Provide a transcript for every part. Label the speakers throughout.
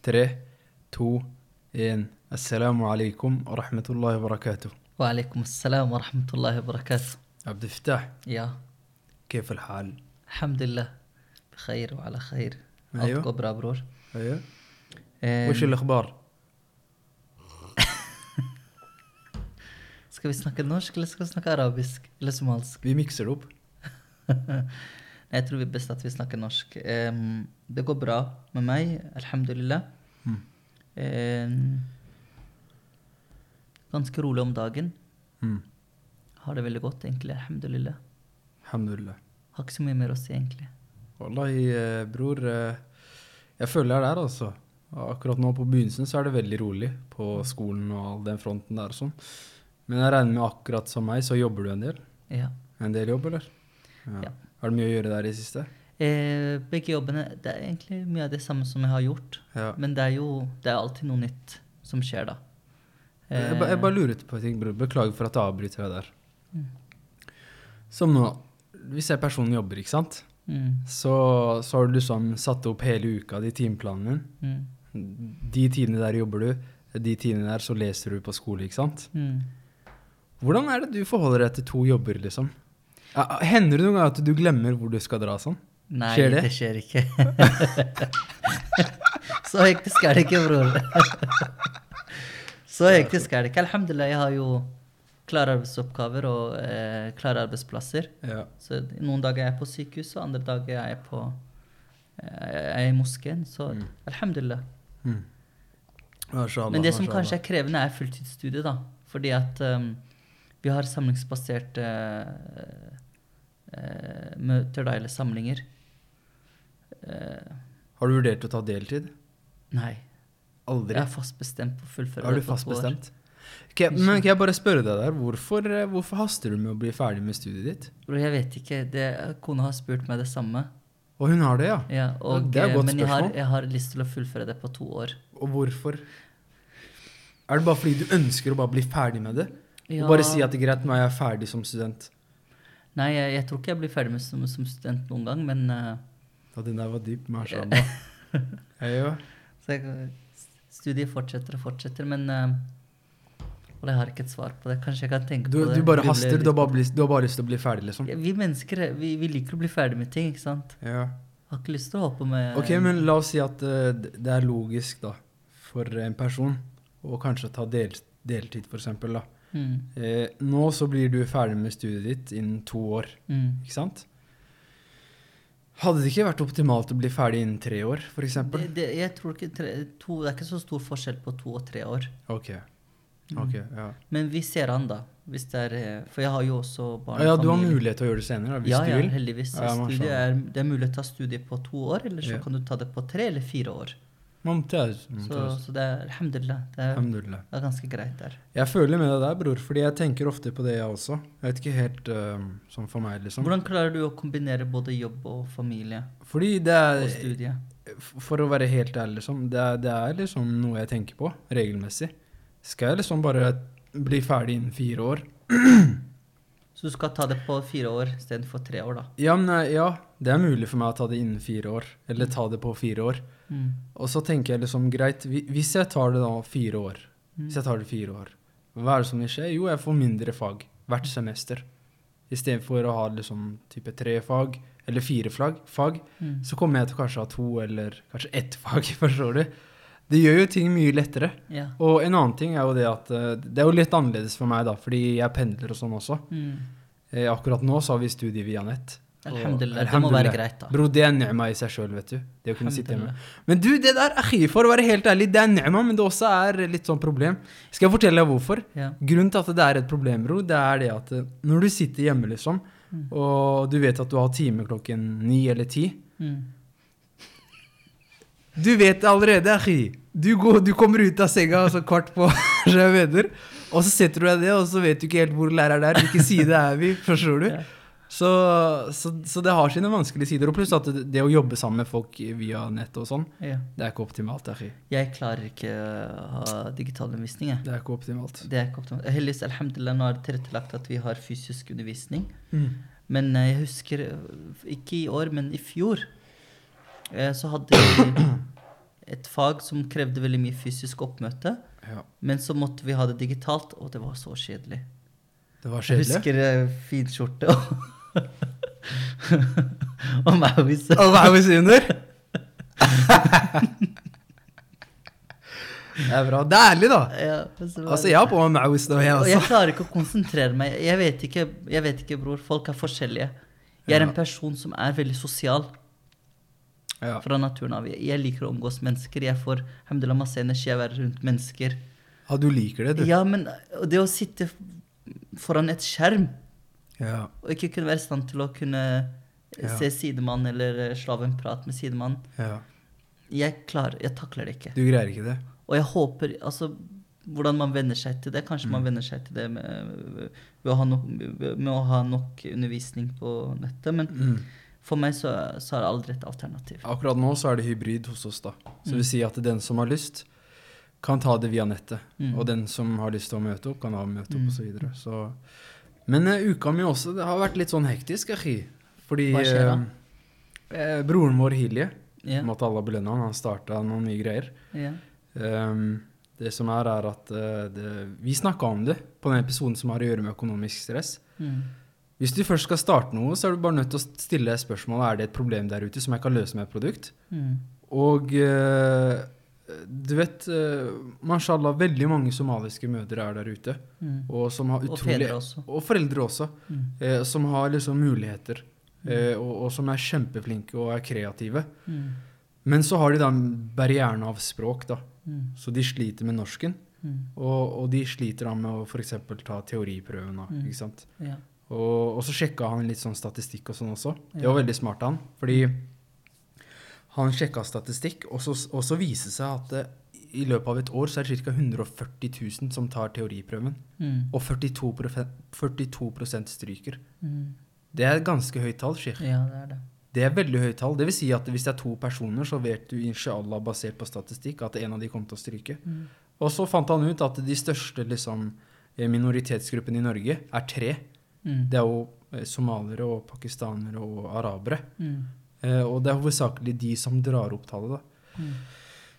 Speaker 1: 3 2 1 السلام عليكم ورحمة الله وبركاته
Speaker 2: وعليكم السلام ورحمة الله وبركاته
Speaker 1: عبد الفتاح
Speaker 2: يا
Speaker 1: كيف الحال؟
Speaker 2: الحمد لله بخير وعلى خير
Speaker 1: أيوة.
Speaker 2: أيوة كبرى أبرور
Speaker 1: ايوه
Speaker 2: أم،
Speaker 1: وش الأخبار؟
Speaker 2: Ska vi snakke norsk, eller skal vi snakke arabisk? Eller somalisk?
Speaker 1: Vi mixer opp.
Speaker 2: Nei, Jeg tror det er best at vi snakker norsk. Em, det går bra med meg, alhamdulillah.
Speaker 1: Mm.
Speaker 2: Em, ganske rolig om dagen.
Speaker 1: Mm.
Speaker 2: Har det veldig godt, egentlig. Alhamdulillah.
Speaker 1: الحمد لله
Speaker 2: Har ikke så mye mer å si, egentlig.
Speaker 1: والله eh, bror eh, Jeg føler det er altså. Akkurat nå på begynnelsen så er det veldig rolig på skolen og all den fronten der og sånn. Men jeg regner med akkurat som meg, så jobber du en del?
Speaker 2: Ja.
Speaker 1: En del jobb, eller?
Speaker 2: Ja.
Speaker 1: Har du mye å gjøre der i siste?
Speaker 2: Eh, begge jobbene Det er egentlig mye av det samme som jeg har gjort.
Speaker 1: Ja.
Speaker 2: Men det er jo det er alltid noe nytt som skjer, da.
Speaker 1: Jeg, ba, jeg bare luret på en ting, bror. Beklager for at jeg avbryter deg der.
Speaker 2: Eh. Mm.
Speaker 1: Som nå, hvis jeg personen jobber, ikke sant,
Speaker 2: mm,
Speaker 1: så, så har du liksom satt opp hele uka de timeplanen din.
Speaker 2: mm,
Speaker 1: De tidene der jobber du, de tidene der så leser du på skole, ikke sant.
Speaker 2: mm.
Speaker 1: Hvordan er det du forholder deg til to jobber, liksom? Ja, Hender det noen gang at du glemmer hvor du skal dra sånn?
Speaker 2: Nei,
Speaker 1: Skjer det?
Speaker 2: det? skjer ikke. Så hektisk er det ikke, bror. Så hektisk er det ikke. Alhamdulillah, jeg har jo klare arbeidsoppgaver og eh, klare arbeidsplasser.
Speaker 1: Ja.
Speaker 2: Så noen dager er jeg på sykehus, og andre dager er jeg på eh, jeg er i moskeen. Så alhamdulillah.
Speaker 1: Mm. Mashallah,
Speaker 2: Men det som
Speaker 1: mashallah.
Speaker 2: kanskje er krevende, er fulltidsstudiet, da. Fordi at um, vi har samlingsbaserte eh, eh, møter, da, eller samlinger. Eh,
Speaker 1: Har du vurdert å ta deltid?
Speaker 2: nei.
Speaker 1: Aldri?
Speaker 2: Jeg er fast bestemt på å fullføre
Speaker 1: Er du
Speaker 2: det på
Speaker 1: fast
Speaker 2: to år.
Speaker 1: bestemt? Ok, men kan jeg bare spørre deg der, hvorfor, eh, hvorfor haster du med å bli ferdig med studiet ditt?
Speaker 2: Bror, jeg vet ikke. Det, kona har spurt meg det samme.
Speaker 1: Og hun har det, ja.
Speaker 2: Ja, og,
Speaker 1: det er et
Speaker 2: eh,
Speaker 1: godt
Speaker 2: men jeg har,
Speaker 1: spørsmål.
Speaker 2: jeg har lyst til å fullføre det på to år.
Speaker 1: Og hvorfor? Er det bare fordi du ønsker å bare bli ferdig med det?
Speaker 2: Ja.
Speaker 1: Og bare si at det er greit, nå er jeg ferdig som student.
Speaker 2: Nei, jeg, jeg tror ikke jeg blir ferdig med som, som student noen gang, men eh,
Speaker 1: Ja, den der var dyp, mashallah. Ja, ja.
Speaker 2: Så jeg, studiet fortsetter og fortsetter, men eh, Og jeg har ikke et svar på det. Kanskje jeg kan tenke
Speaker 1: Du,
Speaker 2: på det.
Speaker 1: du bare
Speaker 2: Gruble
Speaker 1: haster,
Speaker 2: litt
Speaker 1: du har
Speaker 2: på
Speaker 1: bare, lyst- du har bare lyst til å bli ferdig, liksom.
Speaker 2: det. Ja, Vi mennesker vi, vi liker å bli ferdig med ting, ikke sant?
Speaker 1: Ja.
Speaker 2: Har ikke lyst til å holde på med
Speaker 1: Ok, men la oss si at eh, d- det er logisk, da, for en person å kanskje ta del, deltid, for eksempel, da.
Speaker 2: mm,
Speaker 1: Eh, nå så blir du ferdig med studiet ditt innen to år,
Speaker 2: mm.
Speaker 1: ikke sant? Hadde det ikke vært optimalt å bli ferdig innen tre år, for
Speaker 2: Det,
Speaker 1: eksempel?
Speaker 2: det, jeg tror ikke tre, to, det er ikke så stor forskjell på to og tre år.
Speaker 1: Ok.
Speaker 2: Mhm.
Speaker 1: Ok, ja.
Speaker 2: Men vi ser an, da. Hvis det er, eh, for jeg har jo også barn
Speaker 1: Ja, ja, du har mulighet til å gjøre det senere, da, hvis
Speaker 2: ja,
Speaker 1: du
Speaker 2: ja,
Speaker 1: vil.
Speaker 2: heldigvis.
Speaker 1: Ja, man
Speaker 2: Studiet
Speaker 1: skjønner.
Speaker 2: er, det er mulig å ta studiet på to år, eller så
Speaker 1: Ja.
Speaker 2: kan du ta det på tre eller fire år.
Speaker 1: Mumtaz,
Speaker 2: Så,
Speaker 1: mumtaz.
Speaker 2: så det er alhamdulillah. Det er,
Speaker 1: Alhamdulillah.
Speaker 2: Det er ganske greit der.
Speaker 1: Jeg føler med deg der, bror, fordi jeg tenker ofte på det, jeg også. Jeg vet ikke helt eh, sånn for meg, liksom.
Speaker 2: Hvordan klarer du å kombinere både jobb og familie
Speaker 1: Fordi det
Speaker 2: og
Speaker 1: er
Speaker 2: studie?
Speaker 1: For å være helt ærlig, liksom, det, er, det er liksom noe jeg tenker på regelmessig. Skal jeg liksom bare bli ferdig innen fire år?
Speaker 2: Så du skal ta det på fire år istedenfor tre år, da.
Speaker 1: Ja, men eh, ja, det er mulig for meg å ta det innen fire år, eller ta det på fire år.
Speaker 2: Mm.
Speaker 1: Og så tenker jeg liksom, greit, hvi- hvis jeg tar det da fire år,
Speaker 2: Mm.
Speaker 1: hvis jeg tar det fire år, hva er det som vil skje? Jo, jeg får mindre fag hvert semester. Istedenfor å ha liksom type tre fag, eller fire flag, fag,
Speaker 2: Mm.
Speaker 1: så kommer jeg til kanskje å ha to, eller kanskje ett fag, forstår du? Det gjør jo ting mye lettere.
Speaker 2: Ja.
Speaker 1: Og en annen ting er jo det at eh, det er jo litt annerledes for meg, da, fordi jeg pendler og sånn også.
Speaker 2: Mm.
Speaker 1: Eh, Akkurat nå så har vi studie via nett. Og-
Speaker 2: Alhamdulillah. Det må være
Speaker 1: alhamdulillah.
Speaker 2: greit, da.
Speaker 1: Bro, det er ni'ma i seg sjøl, vet du. Det å kunne sitte hjemme.
Speaker 2: Alhamdulillah.
Speaker 1: Men du, det der, akhi, for å være helt ærlig, det er ni'ma, men det også er litt sånn problem. Skal jeg fortelle deg hvorfor?
Speaker 2: Ja.
Speaker 1: Grunnen til at det er et problem, bro, det er det at eh, når du sitter hjemme, liksom, og du vet at du har time klokken ni eller ti
Speaker 2: Mm.
Speaker 1: Du vet det allerede, akhi. Du, går, du kommer ut av senga altså kvart på så jeg mener, og så setter du deg ned, og så vet du ikke helt hvor læreren er, hvilken side er vi, forstår du?
Speaker 2: Ja.
Speaker 1: Så, så, så det har sine vanskelige sider. Og pluss at det, det å jobbe sammen med folk via nett og sånn,
Speaker 2: Ja.
Speaker 1: det er ikke optimalt, akhi.
Speaker 2: Jeg klarer ikke å ha digital undervisning, jeg.
Speaker 1: Det er ikke optimalt.
Speaker 2: Det er ikke optimalt. Heldigvis, alhamdulillah, nå er det tilrettelagt at vi har fysisk undervisning.
Speaker 1: Mm.
Speaker 2: Men eh, jeg husker, eh, ikke i år, men i fjor, eh, så hadde vi et fag som krevde veldig mye fysisk oppmøte.
Speaker 1: Ja.
Speaker 2: Men så måtte vi ha det digitalt, og det var så kjedelig.
Speaker 1: Det var
Speaker 2: Jeg
Speaker 1: kjedelig.
Speaker 2: husker eh, fin skjorte og Og Mauis.
Speaker 1: Og hva er vi sier under? Det er bra. Det er ærlig, da.
Speaker 2: Ja, og så var
Speaker 1: Altså,
Speaker 2: det-
Speaker 1: jeg altså. har på meg Maus nå, jeg
Speaker 2: Og jeg
Speaker 1: også.
Speaker 2: klarer ikke å konsentrere meg. Jeg vet ikke, jeg vet ikke bror. Folk er forskjellige. Jeg er en person som er veldig sosial
Speaker 1: Ja.
Speaker 2: fra naturen av. Jeg- Jeg liker å omgås mennesker. Jeg får alhamdulillah, masse energi av å være rundt mennesker.
Speaker 1: ja, du liker det, du.
Speaker 2: Ja, men og det å sitte foran et skjerm
Speaker 1: Ja.
Speaker 2: og ikke kunne være i stand til å kunne
Speaker 1: Ja.
Speaker 2: se sidemann eller slave en prat med sidemann
Speaker 1: ja.
Speaker 2: Jeg klarer, jeg takler det ikke.
Speaker 1: Du greier ikke det.
Speaker 2: Og jeg håper altså, Hvordan man venner seg til det. Kanskje
Speaker 1: Mm.
Speaker 2: man venner seg til det med, ved, å ha nok, med å ha nok undervisning på nettet. Men
Speaker 1: Mm.
Speaker 2: for meg så, så er det aldri et alternativ.
Speaker 1: Akkurat nå så er det hybrid hos oss, da. Så det vil si at den som har lyst, kan ta det via nettet.
Speaker 2: Mm.
Speaker 1: Og den som har lyst til å møte opp, kan ha møte opp,
Speaker 2: Mm.
Speaker 1: og så videre. Så Men eh, uka mi også, det har vært litt sånn hektisk, achi. Fordi
Speaker 2: Hva skjer da?
Speaker 1: eh, eh, Broren vår Hilje,
Speaker 2: Ja,
Speaker 1: måtte alle belønne han, han starta noen nye greier.
Speaker 2: ja.
Speaker 1: Ehm, det som er, er at eh, det, vi snakka om det på den episoden som har å gjøre med økonomisk stress.
Speaker 2: Mm.
Speaker 1: Hvis du først skal starte noe, så er du bare nødt til å stille spørsmålet er det et problem der ute som jeg kan løse med et produkt.
Speaker 2: Mm.
Speaker 1: Og eh, du vet, eh, mashallah, veldig mange somaliske mødre er der ute.
Speaker 2: Mm.
Speaker 1: Og som har
Speaker 2: Og
Speaker 1: utrolig
Speaker 2: fedre også.
Speaker 1: Og foreldre også.
Speaker 2: Mm.
Speaker 1: eh, som har liksom muligheter. eh, og, og som er kjempeflinke og er kreative.
Speaker 2: Mm.
Speaker 1: Men så har de den barrieren av språk, da.
Speaker 2: Mm.
Speaker 1: Så de sliter med norsken.
Speaker 2: Mm.
Speaker 1: Og, og de sliter da med å f.eks. ta teoriprøven. Da,
Speaker 2: Mm.
Speaker 1: ikke sant?
Speaker 2: Ja.
Speaker 1: Og, og så sjekka han litt sånn statistikk og sånn også. Det
Speaker 2: Ja.
Speaker 1: var veldig smart, han. Fordi han sjekka statistikk, og så, og så viser det seg at eh, i løpet av et år så er det ca. 140 000 som tar teoriprøven.
Speaker 2: Mm.
Speaker 1: Og 42, profe- 42 stryker.
Speaker 2: Mm.
Speaker 1: Det er et ganske høyt tall, Sheikh.
Speaker 2: ja, det er det.
Speaker 1: Det er veldig høyt tall. Det vil si at hvis det er to personer, så vet du inshallah basert på statistikk at en av de kom til å stryke.
Speaker 2: Mm.
Speaker 1: Og så fant han ut at de største liksom, eh, minoritetsgruppene i Norge er tre.
Speaker 2: Mm.
Speaker 1: Det er jo eh, somalere og pakistanere og arabere.
Speaker 2: Mm.
Speaker 1: Eh, Og det er hovedsakelig de som drar opp tallet, da.
Speaker 2: Mm.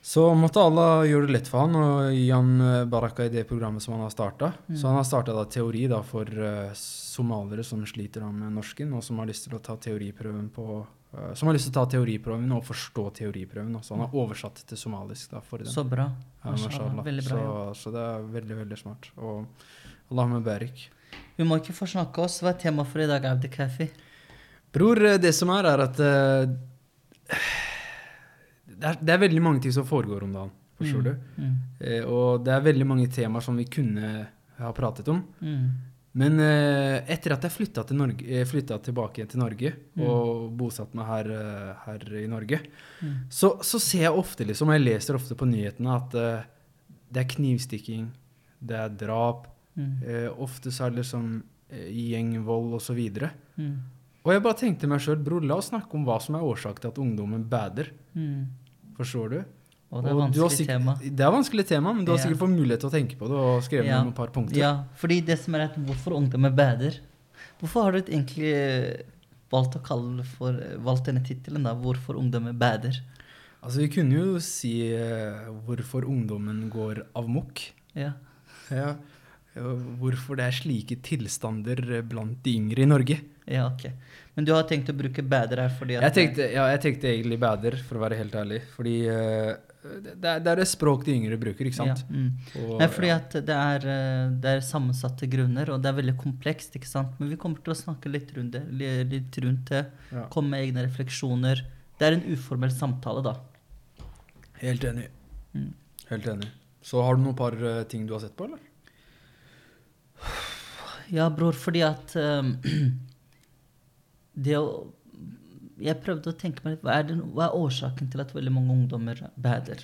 Speaker 1: Så måtte Allah gjøre det lett for han og gi han eh, baraka i det programmet som han har starta.
Speaker 2: Mm.
Speaker 1: Så han har starta teori da, for eh, somalere som sliter da, med norsken, og som har lyst til å ta teoriprøven på eh, som har lyst til å ta teoriprøven og forstå teoriprøven. da. Så han har oversatt det til somalisk. da, for dem.
Speaker 2: Mm. Så bra.
Speaker 1: Ja,
Speaker 2: Mashallah.
Speaker 1: mashallah.
Speaker 2: Veldig bra jobb.
Speaker 1: så, så det er veldig, veldig smart. Og Allahumma barik.
Speaker 2: Vi må ikke forsnakke oss. Hva er temaet for i dag, Abdikafi?
Speaker 1: Bror, eh, det som er, er at eh, det er, det er veldig mange ting som foregår om dagen, forstår du?
Speaker 2: Mm.
Speaker 1: Eh, og det er veldig mange temaer som vi kunne ha pratet om.
Speaker 2: Mm.
Speaker 1: Men eh, etter at jeg flytta, til Norge, eh, flytta tilbake igjen til Norge og bosatt meg her, eh, her i Norge,
Speaker 2: Mm.
Speaker 1: så, så ser jeg ofte, liksom, og jeg leser ofte på nyhetene, at eh, det er knivstikking, det er drap,
Speaker 2: Mm.
Speaker 1: eh, ofte så er det liksom eh, gjengvold osv.
Speaker 2: Mm.
Speaker 1: Og jeg bare tenkte meg sjøl, bror, la oss snakke om hva som er årsak til at ungdommen bader.
Speaker 2: Mm.
Speaker 1: Forstår du?
Speaker 2: Og det er
Speaker 1: Og du har
Speaker 2: vanskelig
Speaker 1: sikkert-
Speaker 2: tema.
Speaker 1: Det er vanskelig tema, men du har
Speaker 2: Ja.
Speaker 1: sikkert fått mulighet til å tenke på det og skrevet
Speaker 2: Ja.
Speaker 1: ned noen par punkter.
Speaker 2: Ja, fordi det som er at hvorfor ungdommer bader? Hvorfor har du egentlig eh, valgt å kalle det for eh, valgt denne tittelen, da? Hvorfor ungdommer bader?
Speaker 1: Altså, vi kunne jo si eh, hvorfor ungdommen går avmokk.
Speaker 2: Ja.
Speaker 1: Ja. Eh, Hvorfor det er slike tilstander eh, blant de yngre i Norge.
Speaker 2: ja, ok. Men du har tenkt å bruke bader her fordi at
Speaker 1: Jeg tenkte, ja, jeg tenkte egentlig bader, for å være helt ærlig. Fordi eh, det, det er- det er et språk de yngre bruker, ikke sant?
Speaker 2: Ja, mm.
Speaker 1: Og,
Speaker 2: Nei, fordi at det er, eh, det er sammensatte grunner, og det er veldig komplekst, ikke sant? Men vi kommer til å snakke litt rundt det, li- litt rundt det
Speaker 1: ja.
Speaker 2: komme med egne refleksjoner. Det er en uformell samtale, da.
Speaker 1: Helt enig.
Speaker 2: Mm.
Speaker 1: Helt enig. Så har du noen par eh, ting du har sett på, eller?
Speaker 2: Ja, bror, fordi at ehm, Det å Jeg prøvde å tenke meg litt hva er, den, hva er årsaken til at veldig mange ungdommer bader?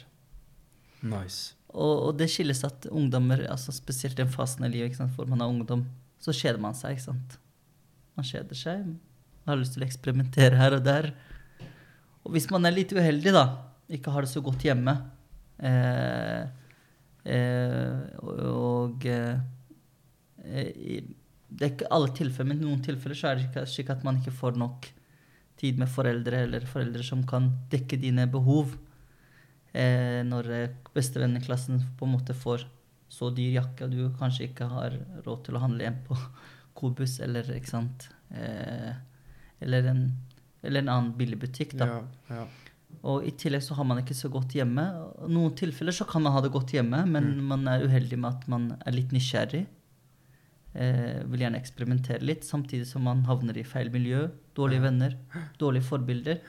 Speaker 1: Nice.
Speaker 2: Og, og det skilles at ungdommer, altså spesielt den fasen i livet ikke sant, hvor man er ungdom, så kjeder man seg, ikke sant. Man kjeder seg, man har lyst til å eksperimentere her og der. Og hvis man er litt uheldig, da, ikke har det så godt hjemme eh, eh, Og eh, eh, i- Det er ikke alle tilfeller, men i noen tilfeller så er det ikke slik at man ikke får nok tid med foreldre, eller foreldre som kan dekke dine behov. eh, når eh, bestevennen i klassen på en måte får så dyr jakke at du kanskje ikke har råd til å handle en på Kobus eller ikke sant? Eh, eller, en, eller en annen billigbutikk, da.
Speaker 1: Ja, ja.
Speaker 2: Og i tillegg så har man ikke så godt hjemme. I noen tilfeller så kan man ha det godt hjemme, men
Speaker 1: Mm.
Speaker 2: man er uheldig med at man er litt nysgjerrig. Eh, vil gjerne eksperimentere litt, samtidig som man havner i feil miljø. Dårlige venner, dårlige forbilder.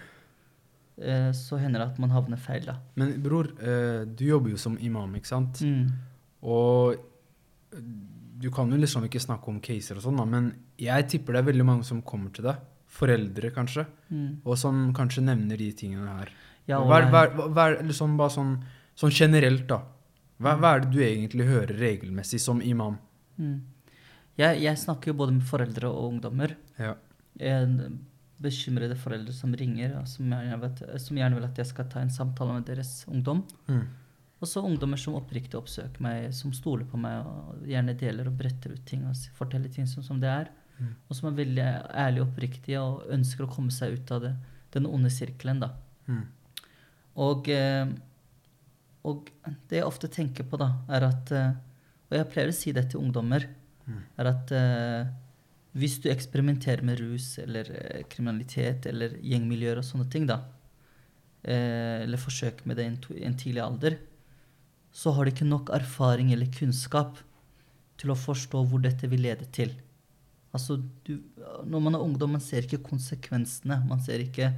Speaker 2: Eh, så hender det at man havner feil, da.
Speaker 1: Men bror, eh, du jobber jo som imam, ikke sant?
Speaker 2: Mm.
Speaker 1: Og du kan jo liksom ikke snakke om caser og sånn, da, men jeg tipper det er veldig mange som kommer til deg. Foreldre, kanskje.
Speaker 2: Mm.
Speaker 1: Og som kanskje nevner de tingene her.
Speaker 2: Ja, og
Speaker 1: hva, er-
Speaker 2: nei.
Speaker 1: hva, er- hva er liksom bare sånn, sånn generelt, da? Hva, hva er det du egentlig hører regelmessig som imam?
Speaker 2: Mm. Jeg, jeg snakker jo både med foreldre og ungdommer.
Speaker 1: Ja.
Speaker 2: en bekymrede foreldre som ringer, og som gjerne, vet, som gjerne vil at jeg skal ta en samtale med deres ungdom.
Speaker 1: Mm.
Speaker 2: Og så ungdommer som oppriktig oppsøker meg, som stoler på meg og gjerne deler og bretter ut ting og s- forteller ting som, som det er.
Speaker 1: Mm.
Speaker 2: Og som er veldig ærlige og oppriktige og ønsker å komme seg ut av det, den onde sirkelen. da.
Speaker 1: Mm.
Speaker 2: Og, eh, og det jeg ofte tenker på, da, er at eh, Og jeg pleier å si det til ungdommer.
Speaker 1: Mm.
Speaker 2: Er at eh, hvis du eksperimenterer med rus eller eh, kriminalitet eller gjengmiljøer og sånne ting, da, eh, eller forsøker med det i en, to- i en tidlig alder, så har du ikke nok erfaring eller kunnskap til å forstå hvor dette vil lede til. Altså, du, når man er ungdom, man ser ikke konsekvensene. Man ser ikke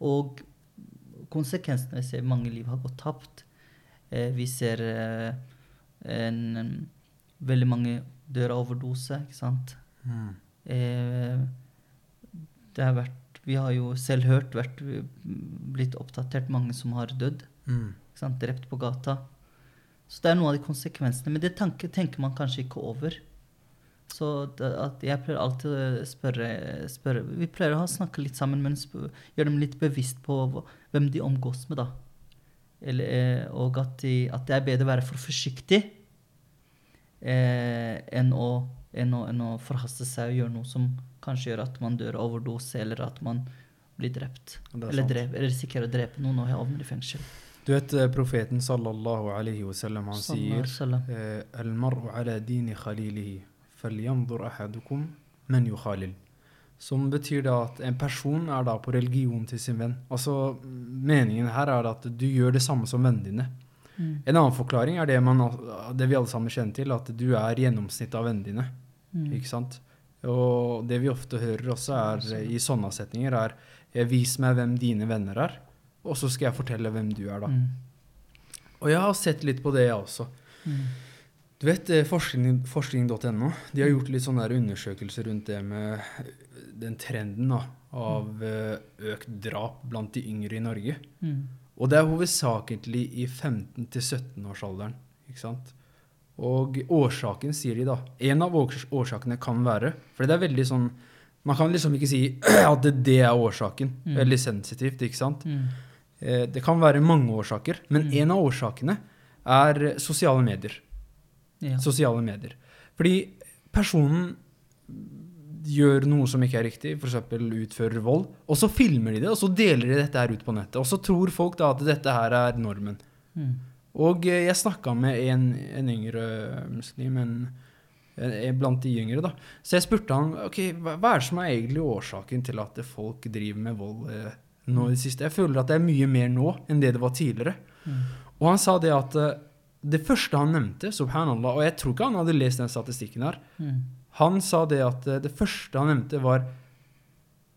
Speaker 2: Og konsekvensene vi ser mange liv har gått tapt. Eh, vi ser eh, en, en, veldig mange dør av overdose, ikke sant.
Speaker 1: Mm.
Speaker 2: Eh, det har vært Vi har jo selv hørt, vært, blitt oppdatert mange som har dødd.
Speaker 1: Mm.
Speaker 2: Ikke sant? Drept på gata. Så det er noen av de konsekvensene. Men det tanke, tenker man kanskje ikke over. Så det, at jeg pleier alltid å spørre, spørre Vi pleier å ha- snakke litt sammen, men sp- gjøre dem litt bevisst på hva- hvem de omgås med, da. Eller, eh, og at, de, at det er bedre å være for forsiktig eh, enn, å, enn, å, enn å forhaste seg og gjøre noe som kanskje gjør at man dør av overdose, eller at man blir drept.
Speaker 1: Det er
Speaker 2: Eller,
Speaker 1: sant.
Speaker 2: drep, eller risikerer å drepe noen og havner i fengsel.
Speaker 1: Du vet eh, profeten sallallahu alaihi wasallam, han
Speaker 2: Sallallahu
Speaker 1: sier
Speaker 2: alaihi wasallam.
Speaker 1: eh, «Al-mar'u ala dini khalilihi, falyanzur ahadukum man yukhalil». Som betyr da at en person er da på religion til sin venn. Altså, meningen her er at du gjør det samme som vennene dine.
Speaker 2: Mm.
Speaker 1: En annen forklaring er det, man, al- det vi alle sammen kjenner til, at du er gjennomsnittet av vennene dine.
Speaker 2: Mm.
Speaker 1: Ikke sant? Og det vi ofte hører også er eh,
Speaker 2: Sånn.
Speaker 1: i sånne setninger er eh, Vis meg hvem dine venner er, og så skal jeg fortelle hvem du er, da.
Speaker 2: Mm.
Speaker 1: Og jeg har sett litt på det, jeg også.
Speaker 2: Mm.
Speaker 1: Du vet eh, forskning- forskning.no, de har gjort litt sånne der undersøkelser rundt det med eh, den trenden da, av eh, økt drap blant de yngre i Norge.
Speaker 2: Mm.
Speaker 1: Og det er hovedsakelig i 15-17-årsalderen, ikke sant? Og årsaken, sier de da, en av års- årsakene kan være, for det er veldig sånn, man kan liksom ikke si at det- det er årsaken,
Speaker 2: Mm.
Speaker 1: veldig sensitivt, ikke sant?
Speaker 2: Mm.
Speaker 1: Eh, Det kan være mange årsaker, men
Speaker 2: Mm.
Speaker 1: en av årsakene er eh, sosiale medier.
Speaker 2: Ja.
Speaker 1: Sosiale medier. Fordi personen gjør noe som ikke er riktig, f.eks. utfører vold, og så filmer de det, og så deler de dette her ut på nettet. Og så tror folk da at dette her er normen.
Speaker 2: Mm.
Speaker 1: Og eh, jeg snakka med en, en yngre muslim, en, en, en blant de yngre, da. Så jeg spurte han ok, hva, hva er det som er egentlig årsaken til at folk driver med vold eh, nå i det siste. Jeg føler at det er mye mer nå enn det det var tidligere.
Speaker 2: Mm.
Speaker 1: Og han sa det at eh, det første han nevnte, subhanallah, og jeg tror ikke han hadde lest den statistikken her,
Speaker 2: Mm.
Speaker 1: han sa det at eh, det første han nevnte, var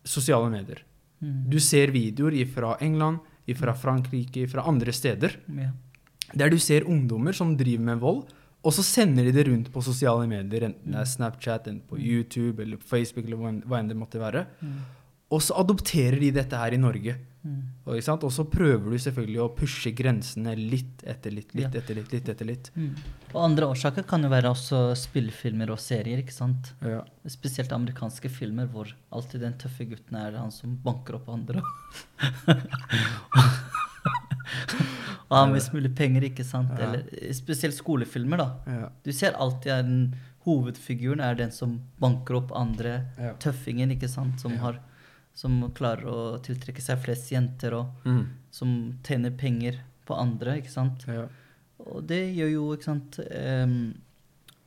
Speaker 1: sosiale medier.
Speaker 2: Mm.
Speaker 1: Du ser videoer fra England, fra Frankrike, fra andre steder,
Speaker 2: Ja. mm,
Speaker 1: der du ser ungdommer som driver med vold, og så sender de det rundt på sosiale medier, enten det er Snapchat, enten på YouTube eller på Facebook, eller hva enn- hva enn det måtte være.
Speaker 2: Mm.
Speaker 1: Og så adopterer de dette her i Norge.
Speaker 2: Mm.
Speaker 1: Og, ikke sant? og så prøver du selvfølgelig å pushe grensene litt etter litt, litt
Speaker 2: Ja.
Speaker 1: etter litt. litt etter litt.
Speaker 2: Mm. Og andre årsaker kan jo være også spillefilmer og serier, ikke sant.
Speaker 1: Ja.
Speaker 2: Spesielt amerikanske filmer hvor alltid den tøffe gutten er han som banker opp andre. og har mest mulig penger, ikke sant.
Speaker 1: Ja.
Speaker 2: Eller, spesielt skolefilmer, da.
Speaker 1: Ja.
Speaker 2: Du ser alltid at den hovedfiguren er den som banker opp andre.
Speaker 1: Ja.
Speaker 2: Tøffingen, ikke sant. Som,
Speaker 1: Ja.
Speaker 2: har, som klarer å tiltrekke seg flest jenter, og
Speaker 1: Mm.
Speaker 2: som tjener penger på andre, ikke sant.
Speaker 1: Ja.
Speaker 2: Og det gjør jo, ikke sant em,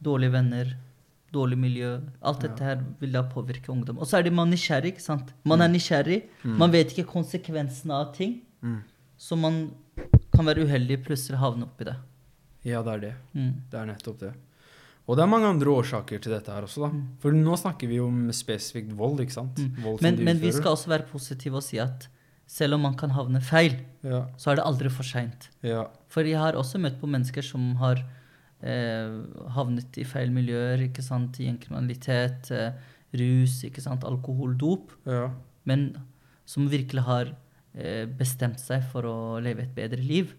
Speaker 2: Dårlige venner, dårlig miljø. Alt
Speaker 1: Ja.
Speaker 2: dette her vil da påvirke ungdom. Og så er det man nysgjerrig, ikke sant. Man er nysgjerrig. Man vet ikke konsekvensene av ting.
Speaker 1: Mm.
Speaker 2: Så man kan være uheldig plutselig havne oppi det.
Speaker 1: ja, det er det.
Speaker 2: Mm.
Speaker 1: Det er nettopp det. Og det er mange andre årsaker til dette her også, da. For nå snakker vi jo om spesifikt vold, ikke sant? Vold som
Speaker 2: Mm. Men,
Speaker 1: de
Speaker 2: men vi
Speaker 1: utfører.
Speaker 2: skal også være positive og si at selv om man kan havne feil,
Speaker 1: Ja,
Speaker 2: så er det aldri for seint.
Speaker 1: ja,
Speaker 2: For jeg har også møtt på mennesker som har eh, havnet i feil miljøer, ikke sant, i en kriminalitet, eh, rus, ikke sant, alkohol, dop,
Speaker 1: ja.
Speaker 2: men som virkelig har eh, bestemt seg for å leve et bedre liv.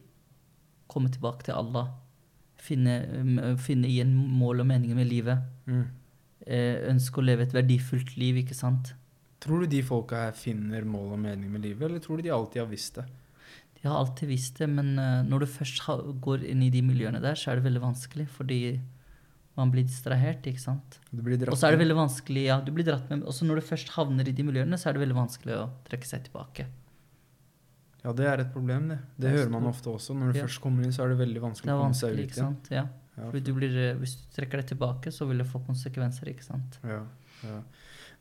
Speaker 2: Komme tilbake til Allah. Finne, eh, finne igjen mål og mening med livet.
Speaker 1: Mm.
Speaker 2: Eh, ønske å leve et verdifullt liv, ikke sant.
Speaker 1: Tror du de folka her finner mål og mening med livet, eller tror du de alltid har visst det?
Speaker 2: Jeg har alltid visst det, men eh, når du først ha, går inn i de miljøene der, så er det veldig vanskelig, fordi man blir distrahert, ikke sant?
Speaker 1: Du blir dratt
Speaker 2: Og så er det
Speaker 1: med.
Speaker 2: veldig vanskelig, ja, du blir dratt med, og så når du først havner i de miljøene, så er det veldig vanskelig å trekke seg tilbake.
Speaker 1: Ja, det er et problem, det. Det
Speaker 2: Det er
Speaker 1: hører man
Speaker 2: stort.
Speaker 1: ofte også. Når du
Speaker 2: Ja.
Speaker 1: først kommer inn, så er det veldig
Speaker 2: Det
Speaker 1: vanskelig å
Speaker 2: er
Speaker 1: komme seg
Speaker 2: vanskelig,
Speaker 1: ut igjen.
Speaker 2: ikke sant? Ja,
Speaker 1: Ja,
Speaker 2: fordi du blir, eh, hvis du trekker deg tilbake, så vil det få konsekvenser, ikke sant?
Speaker 1: Ja, ja.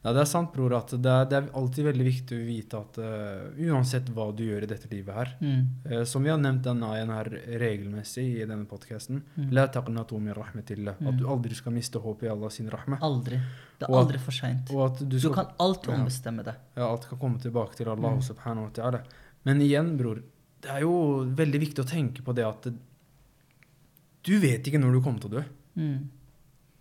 Speaker 1: Nei, det er sant, bror, at det er, det er alltid veldig viktig å vite at eh, uansett hva du gjør i dette livet her,
Speaker 2: Mm.
Speaker 1: eh, som vi har nevnt den ayen her regelmessig i denne podkasten,
Speaker 2: Mm.
Speaker 1: La taqnatu min rahmatillah. At
Speaker 2: Mm.
Speaker 1: du aldri skal miste håpet i Allah sin rahma.
Speaker 2: Aldri. Det er
Speaker 1: Og-
Speaker 2: aldri for sent.
Speaker 1: Og at du
Speaker 2: Du
Speaker 1: skal,
Speaker 2: kan alltid
Speaker 1: Ja.
Speaker 2: ombestemme deg.
Speaker 1: ja, alt kan komme tilbake til Allah
Speaker 2: Mm.
Speaker 1: subhanahu wa ta'ala. Men igjen, bror, det er jo veldig viktig å tenke på det at du vet ikke når du kommer til å dø.
Speaker 2: Mm.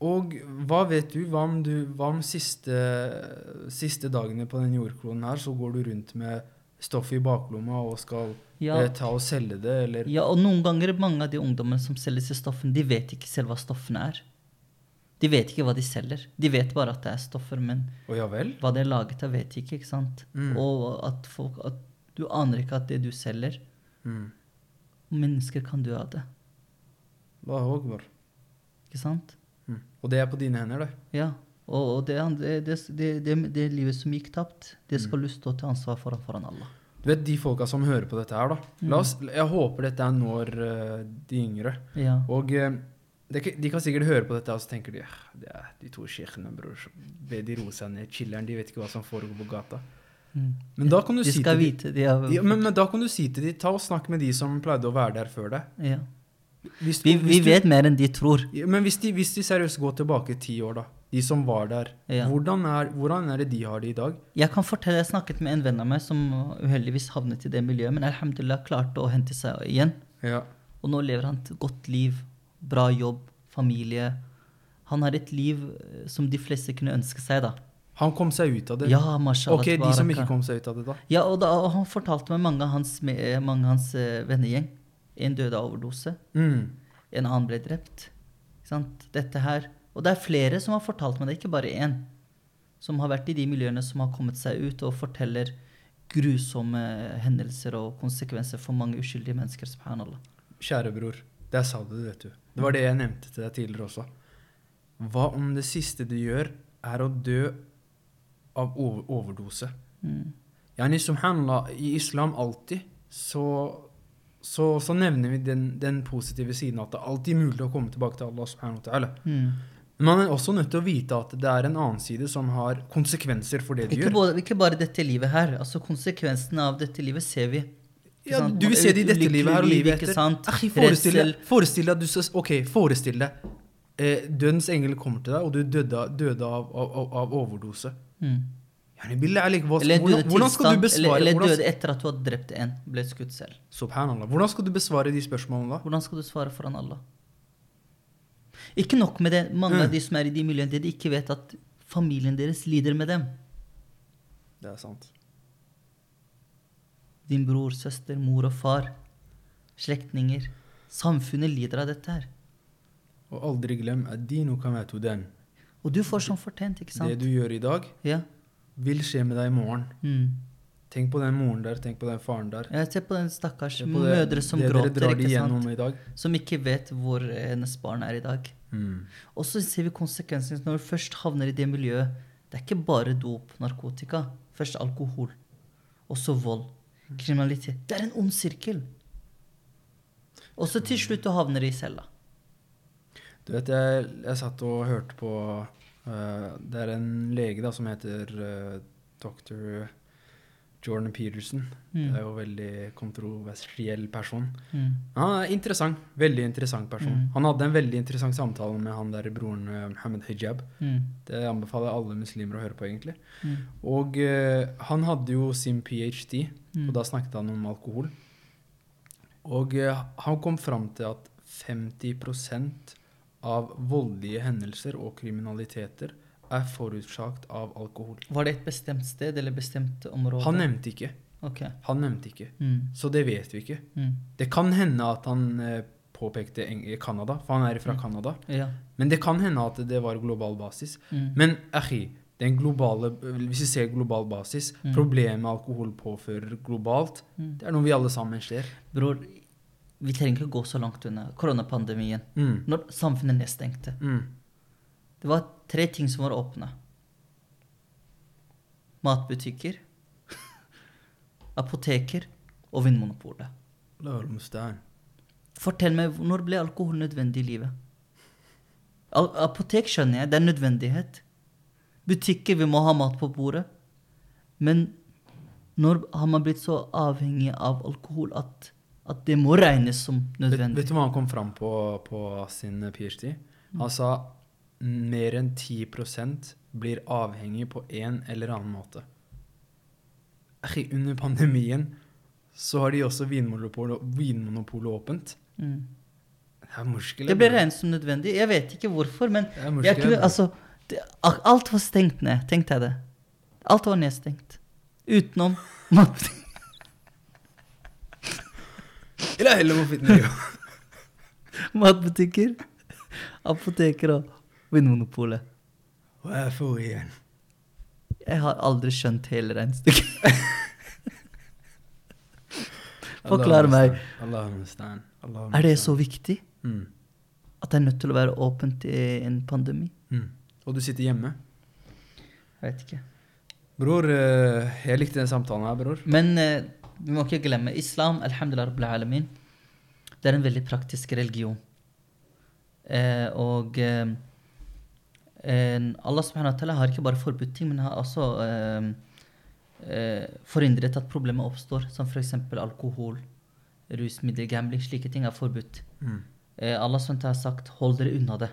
Speaker 1: Og hva vet du? Hva om, du, hva om siste, siste dagene på den jordkloden her, så går du rundt med stoffet i baklomma og skal
Speaker 2: Ja.
Speaker 1: eh, ta og selge det, eller
Speaker 2: Ja, og noen ganger mange av de ungdommene som selger disse stoffene, de vet ikke selv hva stoffene er. De vet ikke hva de selger. De vet bare at det er stoffer, men
Speaker 1: Å ja vel?
Speaker 2: hva det er laget av, vet de ikke. ikke sant?
Speaker 1: Mm.
Speaker 2: Og at folk at Du aner ikke at det du selger
Speaker 1: Mm.
Speaker 2: Mennesker kan dø av det.
Speaker 1: Allahu akbar.
Speaker 2: Ikke sant?
Speaker 1: Mm. Og det er på dine hender, det.
Speaker 2: Ja. Og, og det, andre, det, det, det, det livet som gikk tapt, det
Speaker 1: Mm.
Speaker 2: skal du stå til ansvar for foran Allah.
Speaker 1: Du vet de folka som hører på dette her,
Speaker 2: Mm.
Speaker 1: da. La oss, jeg håper dette er når eh, de yngre.
Speaker 2: Ja.
Speaker 1: Og eh, det, er ikke- de kan sikkert høre på dette, og så tenker de "Ah, det er de to sjeikhene, bror. som- De roer seg ned. Chiller'n, de vet ikke hva som foregår på gata.
Speaker 2: Mm.
Speaker 1: Men da kan du
Speaker 2: De
Speaker 1: si
Speaker 2: skal
Speaker 1: til de,
Speaker 2: vite det. Ja.
Speaker 1: ja, men, men da kan du si til de, ta og snakk med de som pleide å være der før deg.
Speaker 2: Ja.
Speaker 1: Hvis,
Speaker 2: Vi, vi
Speaker 1: hvis
Speaker 2: vet mer enn de tror.
Speaker 1: Du, ja, men hvis de, hvis de seriøst går tilbake ti år, da. De som var der.
Speaker 2: Ja.
Speaker 1: Hvordan, er, hvordan er det de har det i dag?
Speaker 2: Jeg kan fortelle, jeg snakket med en venn av meg som uheldigvis havnet i det miljøet, men alhamdulillah klarte å hente seg igjen.
Speaker 1: Ja.
Speaker 2: Og nå lever han et godt liv, bra jobb, familie. Han har et liv eh, som de fleste kunne ønske seg, da.
Speaker 1: Han kom seg ut av det.
Speaker 2: Ja, mashallah.
Speaker 1: ok, de som
Speaker 2: tabaraka.
Speaker 1: ikke kom seg ut av det, da.
Speaker 2: Ja, og, da, og han fortalte meg mange av hans, me- eh, mange av hans eh, vennegjeng. En døde av overdose,
Speaker 1: Mm.
Speaker 2: en annen ble drept. Ikke sant? Dette her. Og det er flere som har fortalt meg det, ikke bare én. Som har vært i de miljøene som har kommet seg ut og forteller grusomme hendelser og konsekvenser for mange uskyldige mennesker. Subhanallah.
Speaker 1: Kjære bror, der sa du det, vet du. Det var det jeg nevnte til deg tidligere også. Hva om det siste du gjør, er å dø av over overdose?
Speaker 2: Mm.
Speaker 1: Yani, subhanallah, I islam alltid så, så, så nevner vi den, den positive siden at det er alltid mulig å komme tilbake til Allah. subhanahu wa ta'ala.
Speaker 2: Mm.
Speaker 1: Men man er også nødt til å vite at det er en annen side som har konsekvenser for det du
Speaker 2: Ikke,
Speaker 1: gjør.
Speaker 2: både, ikke bare dette livet her. altså Konsekvensene av dette livet ser vi. Ikke
Speaker 1: Ja,
Speaker 2: sant?
Speaker 1: du vil se det i dette
Speaker 2: Ulykkelig
Speaker 1: livet her og
Speaker 2: liv,
Speaker 1: livet
Speaker 2: ikke
Speaker 1: etter.
Speaker 2: sant?
Speaker 1: Akhi, forestill deg,
Speaker 2: Redsel.
Speaker 1: forestill deg at du skal Ok, forestill deg. Eh, dødens engel kommer til deg, og du døde, av- døde av, av, av- av overdose.
Speaker 2: Mm.
Speaker 1: Yani, billah, alik, hva,
Speaker 2: Eller en
Speaker 1: hvordan,
Speaker 2: døde
Speaker 1: hvordan skal du
Speaker 2: tilstand,
Speaker 1: besvare
Speaker 2: eller, eller døde
Speaker 1: hvordan,
Speaker 2: etter at du har drept en, ble skutt selv.
Speaker 1: Subhanallah. Hvordan skal du besvare de spørsmålene da?
Speaker 2: Hvordan skal du svare foran Allah? Ikke nok med det. Mange
Speaker 1: Mm.
Speaker 2: av de som er i de miljøene, de ikke vet at familien deres lider med dem.
Speaker 1: Det er sant.
Speaker 2: Din bror, søster, mor og far. Slektninger. Samfunnet lider av dette her.
Speaker 1: Og aldri glem at dino kan være to den.
Speaker 2: Og du får som fortjent,
Speaker 1: Det
Speaker 2: ikke sant?
Speaker 1: du gjør i dag,
Speaker 2: Ja.
Speaker 1: vil skje med deg i morgen.
Speaker 2: Mm.
Speaker 1: Tenk på den moren der, tenk på den faren der.
Speaker 2: Jeg ser på den stakkars
Speaker 1: Se på det-
Speaker 2: mødre som
Speaker 1: det dere
Speaker 2: gråter,
Speaker 1: drar de
Speaker 2: ikke
Speaker 1: gjennom
Speaker 2: sant?
Speaker 1: i dag.
Speaker 2: Som ikke vet hvor hennes barn er i dag.
Speaker 1: Mm.
Speaker 2: Og så ser vi konsekvensene når du først havner i det miljøet. Det er ikke bare dop, narkotika. Først alkohol. Og så vold. Kriminalitet. Det er en ond sirkel. Og så til slutt du havner i cella.
Speaker 1: Du vet, jeg, jeg satt og hørte på eh, Det er en lege da som heter eh, dr. Jordan Peterson.
Speaker 2: Mm.
Speaker 1: Det er jo veldig kontroversiell person.
Speaker 2: Mm.
Speaker 1: Han er interessant. Veldig interessant person.
Speaker 2: Mm.
Speaker 1: Han hadde en veldig interessant samtale med han der broren eh, Mohammed Hijab.
Speaker 2: Mm.
Speaker 1: Det anbefaler jeg alle muslimer å høre på, egentlig.
Speaker 2: Mm.
Speaker 1: Og eh, han hadde jo sin ph.d.,
Speaker 2: Mm.
Speaker 1: og da snakket han om alkohol. Og eh, han kom fram til at 50 av voldelige hendelser og kriminaliteter er forårsaket av alkohol.
Speaker 2: Var det et bestemt sted eller bestemt område?
Speaker 1: Han nevnte ikke.
Speaker 2: Ok.
Speaker 1: Han nevnte ikke.
Speaker 2: Mm.
Speaker 1: Så det vet vi ikke.
Speaker 2: Mm.
Speaker 1: Det kan hende at han eh, påpekte Eng- Canada, for han er fra Canada.
Speaker 2: Ja.
Speaker 1: Men det kan hende at det var global basis.
Speaker 2: Mm.
Speaker 1: Men achi, den globale, hvis vi ser global basis,
Speaker 2: Mm.
Speaker 1: problemet alkohol påfører globalt,
Speaker 2: Mm.
Speaker 1: det er noe vi alle sammen ser.
Speaker 2: Bror, vi trenger ikke å gå så langt unna koronapandemien.
Speaker 1: Mm.
Speaker 2: Når samfunnet nedstengte.
Speaker 1: Mm.
Speaker 2: Det var tre ting som var åpne. Matbutikker, apoteker og Vinmonopolet.
Speaker 1: Lørmstein.
Speaker 2: Fortell meg, når ble alkohol nødvendig i livet? Al apotek skjønner jeg, det er nødvendighet. Butikker, vi må ha mat på bordet. Men når har man blitt så avhengig av alkohol at, at det må regnes som
Speaker 1: Vet,
Speaker 2: nødvendig?
Speaker 1: vet du hva han kom fram på på sin eh, PhD?
Speaker 2: Mm.
Speaker 1: Han sa mer enn 10 blir avhengig på en eller annen måte. Achi, under pandemien så har de også vinmonopolet, vinmonopolet åpent.
Speaker 2: Mm.
Speaker 1: Det er muskler.
Speaker 2: Det ble regnet som nødvendig. Jeg vet ikke hvorfor, men
Speaker 1: Det er muskler,
Speaker 2: jeg kunne,
Speaker 1: bro.
Speaker 2: altså, det, a- alt var stengt ned, tenkte jeg det. Alt var nedstengt. Utenom matbutikken.
Speaker 1: Eller heller må fitne jo.
Speaker 2: matbutikker, apoteker og Vinmonopolet.
Speaker 1: Hva er for igjen?
Speaker 2: Jeg har aldri skjønt hele regnestykket. Forklar meg.
Speaker 1: Allah understand. Allah
Speaker 2: Er det så
Speaker 1: understand.
Speaker 2: viktig
Speaker 1: Mm.
Speaker 2: at det er nødt til å være åpent i en pandemi?
Speaker 1: Mm. Og du sitter hjemme?
Speaker 2: Jeg vet ikke.
Speaker 1: Bror, eh, jeg likte den samtalen her, bror.
Speaker 2: Men eh, vi må ikke glemme islam. Alhamdulillah rabbil alamin. Det er en veldig praktisk religion. Eh, og eh, en, Allah subhanahu wa ta'ala har ikke bare forbudt ting, men har også eh, eh, forhindret at problemer oppstår, som f.eks. alkohol, rusmidler, gambling. Slike ting er forbudt.
Speaker 1: Mm.
Speaker 2: Eh, Allah subhanahu wa ta'ala har sagt 'hold dere unna det'.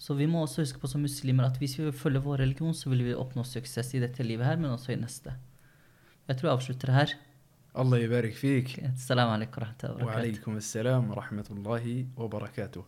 Speaker 2: Så vi må også huske på som muslimer at hvis vi følger vår religion, så vil vi oppnå suksess i dette livet her, men også i neste. Jeg tror jeg avslutter her.
Speaker 1: Allah yubarik fik.
Speaker 2: Salam alaikum. wa rahmatullahi wa
Speaker 1: Wa
Speaker 2: barakatuh.
Speaker 1: alaikum assalam wa rahmatullahi wa barakatuh.